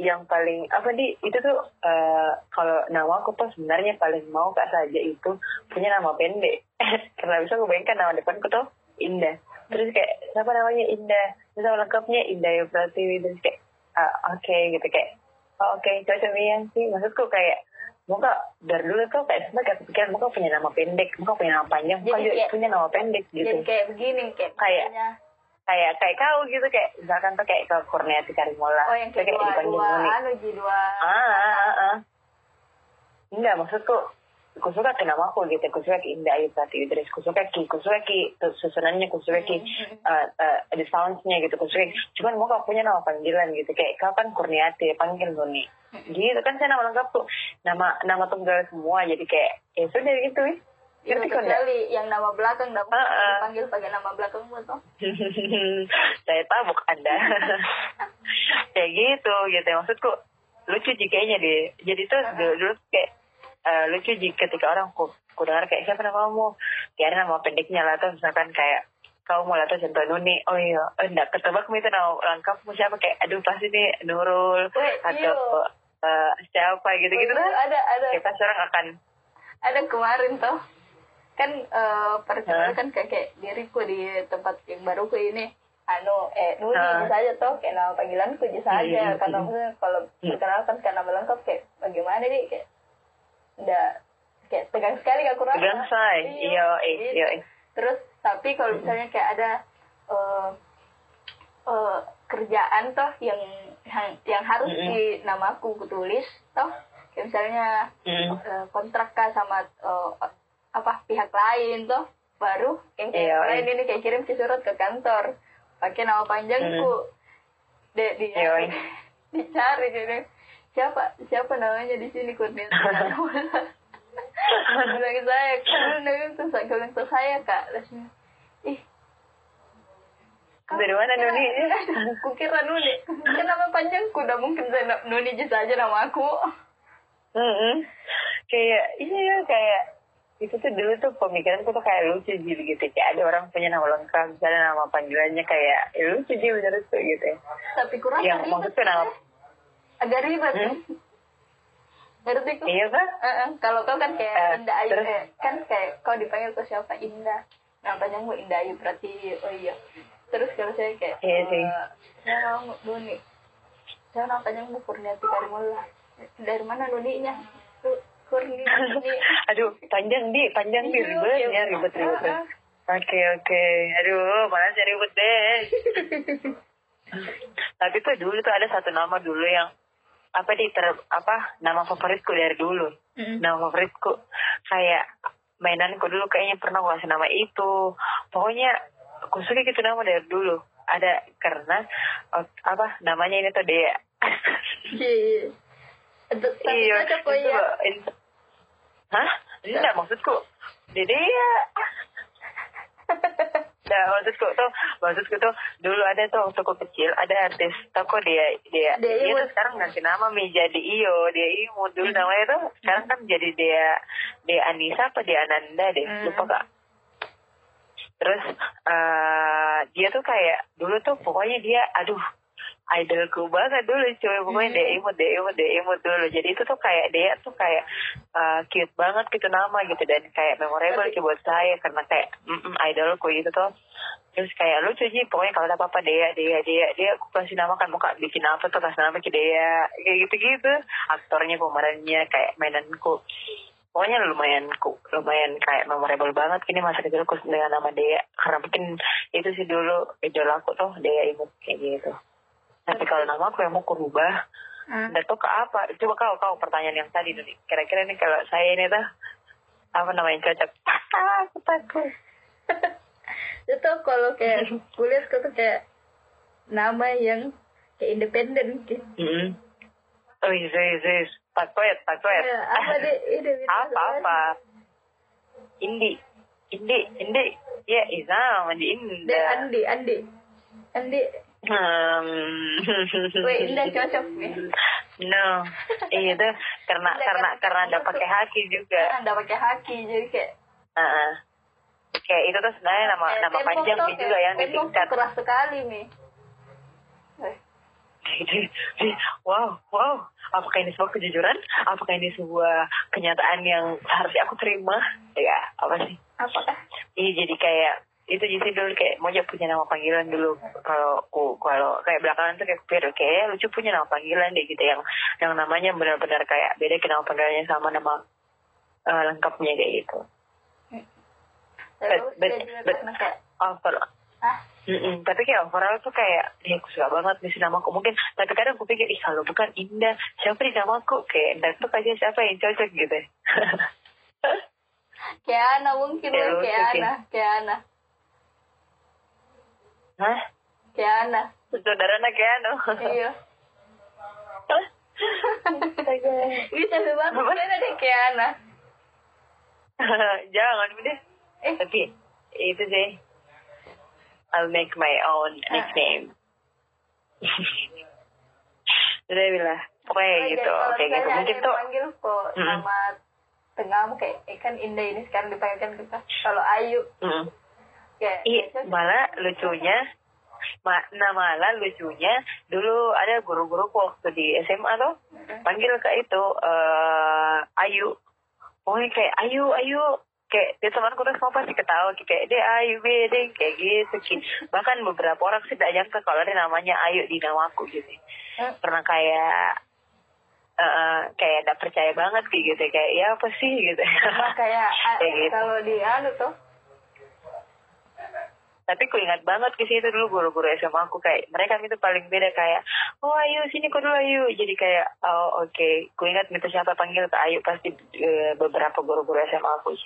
A: yang paling apa di itu tuh eh, kalau nama aku tuh sebenarnya paling mau kak saja itu punya nama pendek karena bisa aku bayangkan nama depanku tuh Indah terus kayak siapa namanya Indah terus nama lengkapnya Indah ya Pratiwi terus kayak ah, oke gitu kayak oh, oke cocok iya sih maksudku kayak muka dari dulu tuh kayak sempat kayak kepikiran muka punya nama pendek muka punya nama panjang muka
B: Jadi
A: juga
B: kayak-
A: punya nama pendek gitu
B: jadi kayak begini kayak
A: Kayak-
B: misalnya,
A: kayak kayak kau gitu kayak misalkan tuh kayak ke Kurniati Karimola
B: oh yang
A: Tuh kayak
B: kedua
A: dipanggil
B: dua
A: Muni
B: anu ji dua
A: ah, ah, ah, ah. enggak maksudku aku suka ke nama aku gitu aku suka ke Indah Ayu Pratiwi terus aku suka ki aku suka ki tuh susunannya aku suka ki
B: Hmm.
A: eh, eh, ada soundsnya gitu aku suka ki. cuman mau kau punya nama panggilan gitu kayak kau kan Kurniati panggil Muni
B: Mm-hmm.
A: gitu kan saya nama lengkap tuh nama nama tunggal semua jadi kayak ya sudah gitu wih.
B: Itu
A: Ngerti kok, Nda?
B: kecuali yang nama belakang dapat
A: Heeh.
B: dipanggil pakai nama belakang toh.
A: saya tabok anda kayak gitu gitu maksudku lucu sih kayaknya deh jadi tuh dulu, dulu tuh kayak eh, lucu sih ketika orang ku, ku dengar kayak siapa nama kamu ya ada nama pendeknya lah tuh misalkan kayak kamu mau tuh contoh Nuni oh iya oh, enggak ketebak nih itu nama lengkapmu siapa kayak aduh pasti nih Nurul
B: Weh,
A: atau eh, siapa gitu gitu
B: Dulu
A: tuh
B: Oh, Ada ada
A: kayak pasti orang akan
B: ada kemarin toh. Kan eh perkenalan
A: Hah?
B: kan kakek diriku di tempat yang baruku ini. Anu, eh, Nuni
A: Hah.
B: bisa aja toh, kayak nama panggilanku bisa
A: Hmm,
B: aja.
A: hmm,
B: Karena
A: hmm.
B: maksudnya kalau
A: Hmm.
B: perkenalkan karena nama lengkap kayak bagaimana nih, kayak udah kayak tegang sekali aku rasa.
A: bilang say iya eh,
B: gitu.
A: iya eh.
B: terus tapi kalau misalnya kayak ada eh, eh, kerjaan toh yang yang, yang harus
A: Mm-mm.
B: di namaku tulis toh kayak misalnya
A: Mm.
B: eh, kontrak kah sama eh, apa pihak lain toh baru yang kayak
A: Iya, iya.
B: lain ini kayak kirim si surat ke kantor pakai nama panjangku De- di-
A: Iya, iya.
B: dicari jadi siapa siapa namanya di sini koordinator bilang ke saya kalian bilang ke saya bilang ke saya kak Terus, ih
A: Dari mana,
B: kira-
A: Nuni?
B: kukira Nuni kan nama panjangku udah mungkin saya na- Nuni jasa aja nama aku
A: mm Kayak iya kayak itu tuh dulu tuh pemikiranku tuh kayak lucu gitu gitu kayak ada orang punya nama lengkap misalnya nama panggilannya kayak ya, lucu sih menurutku gitu ya.
B: tapi kurang
A: yang maksudku nama
B: agak ribet
A: Hmm?
B: ngerti kok
A: iya kan
B: Eh, kalau kau kan kayak
A: Eh,
B: Indah Ayu
A: terus?
B: eh, kan kayak kau dipanggil ke siapa Indah nah panjangmu Indah Ayu berarti oh iya terus kalau saya kayak
A: Iya sih.
B: eh, saya mau Nuni saya nama panjangmu Kurniati Karimullah dari mana Nuninya Ku- Kurni Nuni
A: aduh panjang di panjang di
B: Iya,
A: ribet
B: iya.
A: ya ribet ribet
B: Ah, ah.
A: oke oke aduh malah saya ribet deh tapi tuh dulu tuh ada satu nama dulu yang apa di ter apa nama favoritku dari dulu nama Nah, favoritku kayak mainanku dulu kayaknya pernah ngasih nama itu pokoknya aku suka gitu nama dari dulu ada karena oh, apa namanya ini tuh dia
B: Iya, iya. Aduh, tapi cocok kok
A: Iya, itu
B: ya
A: loh, in- hah
B: Iya.
A: enggak maksudku dede ya Nah, maksudku tuh, maksudku tuh dulu ada tuh waktu aku kecil ada artis toko dia dia
B: Dia
A: dia,
B: Imut.
A: tuh sekarang ganti nama Mi jadi Iyo dia Imut
B: Hmm.
A: dulu namanya tuh sekarang kan jadi dia dia Anissa apa dia Ananda deh
B: Hmm.
A: lupa kak terus eh dia tuh kayak dulu tuh pokoknya dia aduh idolku banget dulu cuy pokoknya
B: Hmm.
A: dia imut dia imut dia imut dulu jadi itu tuh kayak dia tuh kayak eh, cute banget gitu nama gitu dan kayak memorable
B: Tapi-
A: sih buat saya karena kayak mm, mm, idolku gitu tuh terus kayak lucu sih pokoknya kalau ada apa-apa dia dia dia dia aku kasih nama kan muka bikin apa tuh kasih nama ke dia kayak gitu-gitu aktornya pemerannya kayak mainanku pokoknya lumayan ku lumayan kayak memorable banget kini masa kecilku dengan nama Dea karena mungkin itu sih dulu idol aku tuh Dea ibu kayak gitu tapi kalau nama aku yang mau aku rubah
B: Hmm.
A: nggak tahu ke apa coba kau kau pertanyaan yang tadi nih kira-kira nih kalau saya ini tuh apa namanya yang cocok ah aku takut
B: itu kalau kayak kulihat kau tuh kayak nama yang kayak independen gitu
A: mm oh iya iya iya pakoet pakoet
B: Eh, apa deh ini
A: apa apa Indi Indi Indi ya Izam Indi
B: De
A: Indah
B: Andi, Andi. Andi,
A: Hmm.
B: weh Indah cocok ya? nih.
A: No, iya tuh karena
B: Enggak,
A: karena
B: karena-
A: karena nggak pakai haki juga.
B: Anda Ah, pakai haki jadi kayak
A: Heeh. Kayak itu tuh sebenarnya Eh, nama
B: Ah. kayak
A: nama
B: tembok
A: panjang gitu ya,
B: tuh,
A: sih
B: kayak
A: juga yang
B: tembok tuh
A: ditingkat.
B: keras sekali Eh, nih. Weh,
A: wow, wow. Apakah ini sebuah kejujuran? Apakah ini sebuah kenyataan yang harusnya aku terima? Ya, apa sih?
B: Apakah?
A: Iya jadi kayak itu jadi dulu kayak mau aja punya nama panggilan dulu kalau ku kalau kayak belakangan tuh kayak kupikir kayak lucu punya nama panggilan deh gitu yang yang namanya benar-benar kayak beda ke nama panggilannya sama nama eh, lengkapnya kayak gitu.
B: Terus
A: Eh, bet-
B: dia juga
A: bet-
B: karena kayak
A: Over,
B: ah
A: Mm-mm. tapi kayak overall tuh kayak ya aku suka banget nih nama aku mungkin tapi kadang aku pikir ih kalau bukan Indah siapa di nama aku kayak nggak aja siapa yang cocok gitu.
B: kayak Ana mungkin
A: Ya,
B: weh
A: lucu
B: kayak
A: sih.
B: Ana, kayak Ana,
A: Hah?
B: kayak Ana.
A: Saudara anak ya no.
B: Iya. Bisa banget
A: Apa?
B: ada deh kayak Ana.
A: jangan udah
B: eh
A: tapi itu sih I'll make my own nickname udah bilah pokoknya
B: Oh,
A: gitu
B: jadi kalau
A: kayak gitu
B: misalnya
A: mungkin
B: ada yang
A: tuh
B: panggil kok
A: Mm-mm.
B: nama tengah kayak eh, kan Indah ini sekarang dipanggil kan kita kalau Ayu
A: mm.
B: kayak
A: Ih,
B: cocok.
A: Iya, malah lucunya makna malah lucunya dulu ada guru-guruku waktu di SMA tuh
B: Mm-mm.
A: panggil ke itu eh Ayu pokoknya kayak Ayu Ayu kayak dia temanku tuh semua pasti ketawa kayak dia Ayu bedeng kayak gitu Ki. bahkan beberapa orang sih tidak nyangka kalau ada namanya Ayu di namaku gitu
B: Hmm.
A: pernah kayak eh, eh, kayak tidak percaya banget kayak gitu kayak ya apa sih gitu
B: Sama kayak ah,
A: Kayak gitu.
B: kalau di anu tuh
A: tapi ku ingat banget ke situ dulu guru-guru SMA aku kayak mereka itu paling beda kayak oh ayo sini ku dulu ayo jadi kayak oh oke ku ingat minta siapa panggil ke ayu pasti eh, beberapa guru-guru SMA aku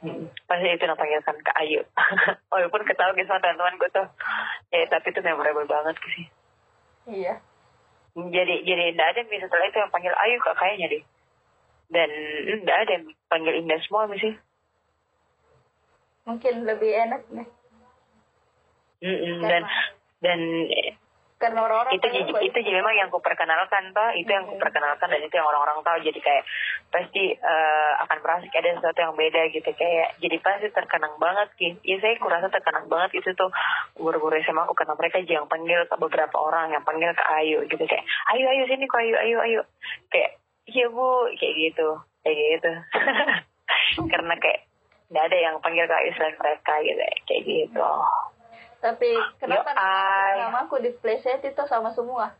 A: Hmm, pasti itu yang panggilkan ke ayu walaupun ketawa gitu sama teman-teman gue tuh ya tapi itu memorable banget ke sih
B: iya
A: jadi jadi tidak ada yang setelah itu yang panggil ayu kak kayaknya deh dan tidak ada yang panggil indah semua Hmm, sih
B: mungkin lebih enak nih
A: Mm-mm, dan dan eh,
B: karena orang-orang
A: itu jadi itu jadi memang yang kuperkenalkan toh itu yang
B: Mhm.
A: kuperkenalkan dan itu yang orang-orang tahu jadi kayak pasti eh, akan merasa kayak ada sesuatu yang beda gitu kayak jadi pasti terkenang banget Ki. ya saya kurasa terkenang banget itu tuh guru-guru SMA aku karena mereka aja yang panggil ke beberapa orang yang panggil ke Ayu gitu kayak Ayu Ayu sini kok Ayu Ayu Ayu kayak iya bu kayak gitu kayak gitu karena kayak nggak ada yang panggil ke Ayu selain mereka gitu kayak gitu
B: tapi kenapa
A: Ay.
B: namaku di playset itu sama semua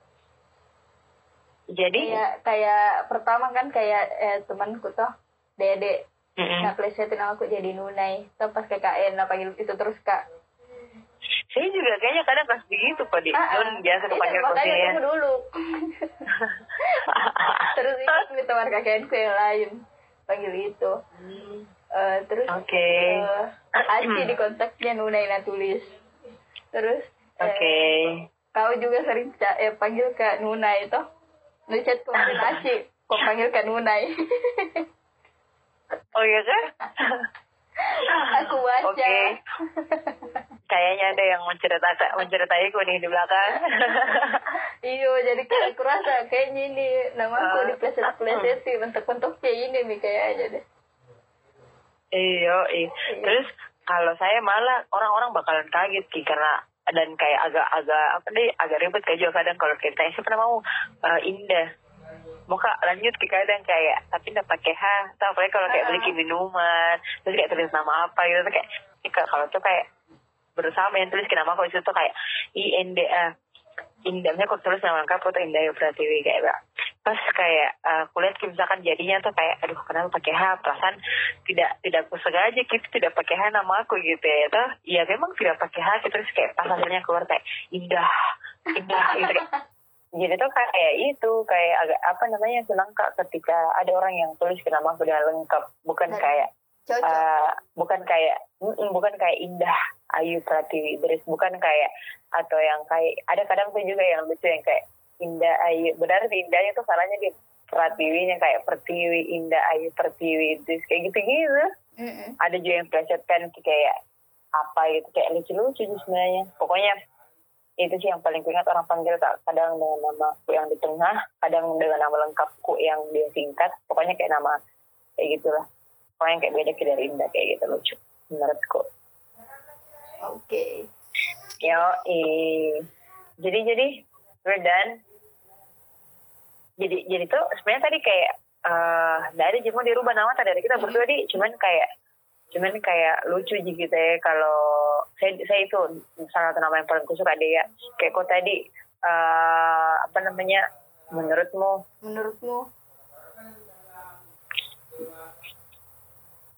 A: jadi
B: kayak kayak pertama kan kayak eh, temanku tuh Dede
A: mm-mm.
B: nah playsetin aku jadi Nunai tuh pas KKN nah panggil itu terus kak
A: Saya juga kayaknya kadang pas begitu kok di
B: Ah, ah.
A: Nun biasa ya.
B: Itu,
A: dipanggil
B: makanya
A: kucingnya.
B: tunggu dulu terus ikut di teman kakekku yang lain panggil itu Eh, terus
A: Oke.
B: eh, Aci di kontaknya Nunai nah tulis terus eh,
A: Oke.
B: kau juga sering ca- eh, panggil ke Nunai itu ngechat kemarin Aci kok panggil ke Nunai
A: Oh iya kan?
B: aku baca
A: Oke. Kayaknya ada yang menceritakan menceritaiku nih di belakang.
B: Iyo, jadi kayak aku rasa kayaknya ini nama
A: Ah.
B: aku di pleset-pleset sih bentuk-bentuknya ini nih kayaknya deh.
A: Iya, iya. Terus kalau saya malah orang-orang bakalan kaget sih karena dan kayak agak-agak apa deh agak ribet kayak juga kadang kalau kita siapa pernah mau eh, indah muka lanjut ke kadang kayak tapi nggak pakai H tau apalagi kalau kayak
B: Ah.
A: beli minuman terus kayak tulis nama apa gitu tuh kayak ih, Kak, kalau tuh kayak bersama yang tulis ke nama kalau itu tuh kayak I N D A indahnya kok tulis nama lengkap tuh indah ya Pratiwi kayak Mbak. pas kayak eh, aku lihat kayak misalkan jadinya tuh kayak aduh kenapa pakai H perasaan tidak tidak aku sengaja gitu tidak pakai H nama aku gitu ya tuh ya memang tidak pakai H gitu terus kayak pas hasilnya keluar kayak indah indah gitu kayak jadi tuh kayak itu kayak agak apa namanya aku langka ketika ada orang yang tulis ke nama aku dengan lengkap bukan
B: Dan-
A: kayak
B: Cocok.
A: eh, bukan kayak mm, bukan kayak indah Ayu Pratiwi Idris bukan kayak atau yang kayak ada kadang tuh juga yang lucu yang kayak indah Ayu benar sih indahnya tuh salahnya di Pratiwinya kayak Pertiwi Indah Ayu Pertiwi Idris kayak gitu-gitu
B: Mm-mm.
A: ada juga yang plesetkan kayak apa gitu kayak lucu-lucu sih sebenarnya pokoknya itu sih yang paling kuingat orang panggil Kak. kadang dengan nama aku yang di tengah kadang dengan nama lengkapku yang dia singkat pokoknya kayak nama kayak gitulah pokoknya kayak beda kayak dari Indah kayak gitu lucu menurutku
B: Oke.
A: yo jadi jadi we're done jadi jadi tuh sebenarnya tadi kayak eh dari cuma dirubah nama tadi dari kita berdua di cuman kayak cuman kayak lucu aja gitu ya kalau saya saya itu salah satu nama yang paling kusuka dia kayak kok tadi eh apa namanya menurutmu
B: Menurutmu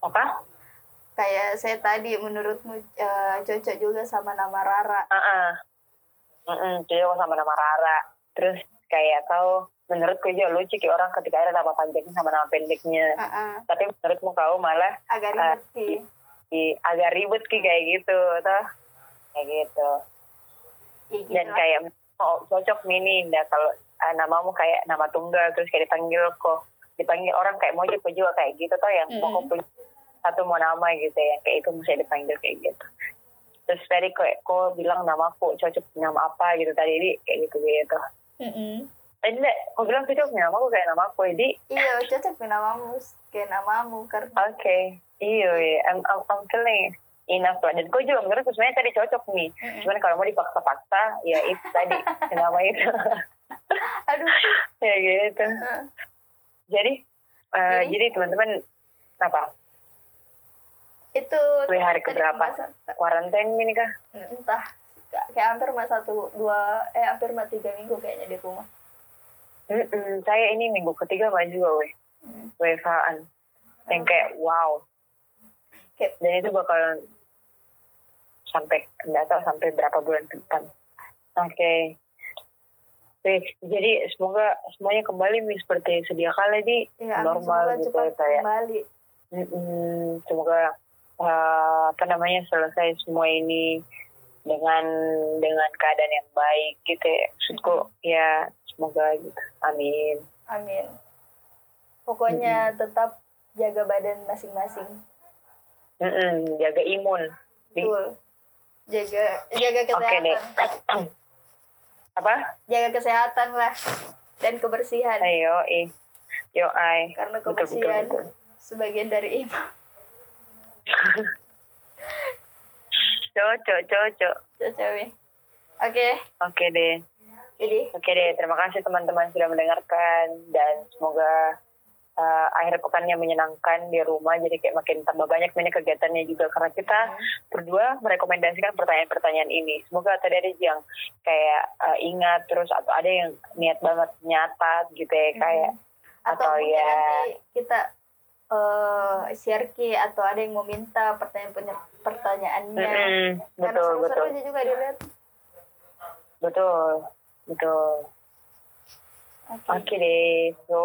A: apa
B: kayak saya tadi menurutmu eh, cocok juga sama nama Rara.
A: ah ah. Mm-mm, jadi aku sama nama Rara terus kayak kau menurutku juga lucu kayak orang ketika ada nama panjangnya sama nama pendeknya
B: Ah, ah.
A: tapi menurutmu kau malah
B: agak ribet sih.
A: i- agak ribet ki kayak gitu toh kayak gitu
B: Ya, gitu
A: dan
B: lah.
A: kayak oh, cocok nih nih Indah kalau ah, namamu kayak nama tunggal terus kayak dipanggil kok dipanggil orang kayak mojok kok juga kayak gitu toh yang
B: Mm.
A: mau kok punya satu mau nama gitu ya kayak itu mesti dipanggil kayak gitu terus tadi kayak kok bilang namaku cocok nama apa gitu tadi ini kayak gitu gitu
C: Mm-mm.
A: tadi deh kok bilang cocok nama aku kayak namaku jadi
B: iya cocok ke namamu kayak namamu karena
A: oke iya iya I'm, I'm, I'm feeling enough lah dan gue juga menurut sebenarnya tadi cocok nih cuman kalau mau dipaksa-paksa ya itu tadi nama itu
B: aduh
A: ya gitu
B: eh,
A: jadi eh,
B: Jadi?
A: jadi teman-teman apa
B: itu
A: Di hari
B: tadi
A: keberapa?
B: pembahasan-
A: Quarantine ini kah
B: entah kayak hampir mah satu dua eh hampir mah tiga minggu kayaknya di rumah
A: Mm-mm, saya ini minggu ketiga maju juga weh
B: Hmm.
A: WFH-an yang kayak wow
B: Kayak-
A: dan itu bakalan sampai nggak tahu sampai berapa bulan ke depan oke Weh, jadi semoga semuanya kembali nih seperti sedia kala di
B: ya amin,
A: normal
B: semoga
A: gitu
B: cepat
A: ya saya
B: kembali
A: Mm-mm, semoga eh, apa namanya selesai semua ini dengan dengan keadaan yang baik gitu ya. Maksudku ya semoga gitu. Amin.
B: amin pokoknya tetap jaga badan masing-masing
A: Mm-mm, jaga imun. Di-
B: betul jaga jaga
A: Oke
B: kesehatan
A: deh. apa?
B: jaga kesehatan lah dan kebersihan
A: Ayo, i. eh. Yo, ai.
B: karena
A: Betul, betul,
B: kebersihan
A: betul.
B: sebagian dari iman
A: Cocok, cocok.
B: cewek oke
A: Oke deh.
B: jadi
A: Oke deh, terima kasih teman-teman sudah mendengarkan dan semoga uh, akhir pekannya menyenangkan di rumah jadi kayak makin tambah banyak banyak kegiatannya juga karena kita berdua merekomendasikan pertanyaan-pertanyaan ini. Semoga tadi ada yang kayak uh, ingat terus atau ada yang niat banget nyata gitu ya kayak
B: atau,
A: atau
B: mungkin
A: ya
B: nanti kita eh share ke atau ada yang mau minta pertanyaan punya- pertanyaannya
A: Mm-mm,
B: Mm-hmm. karena
A: betul
B: seru-seru
A: betul
B: aja juga dilihat
A: betul betul.
B: oke
A: Oke deh, so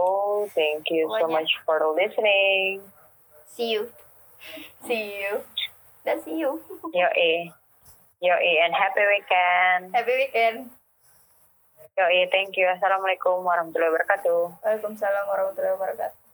A: thank you so
B: Pokoknya-
A: much for listening.
B: see you see you dan see you
A: Yoi. Yoi, eh, and happy weekend.
B: happy weekend
A: Yoi, thank you. Assalamualaikum warahmatullahi wabarakatuh.
B: waalaikumsalam warahmatullahi wabarakatuh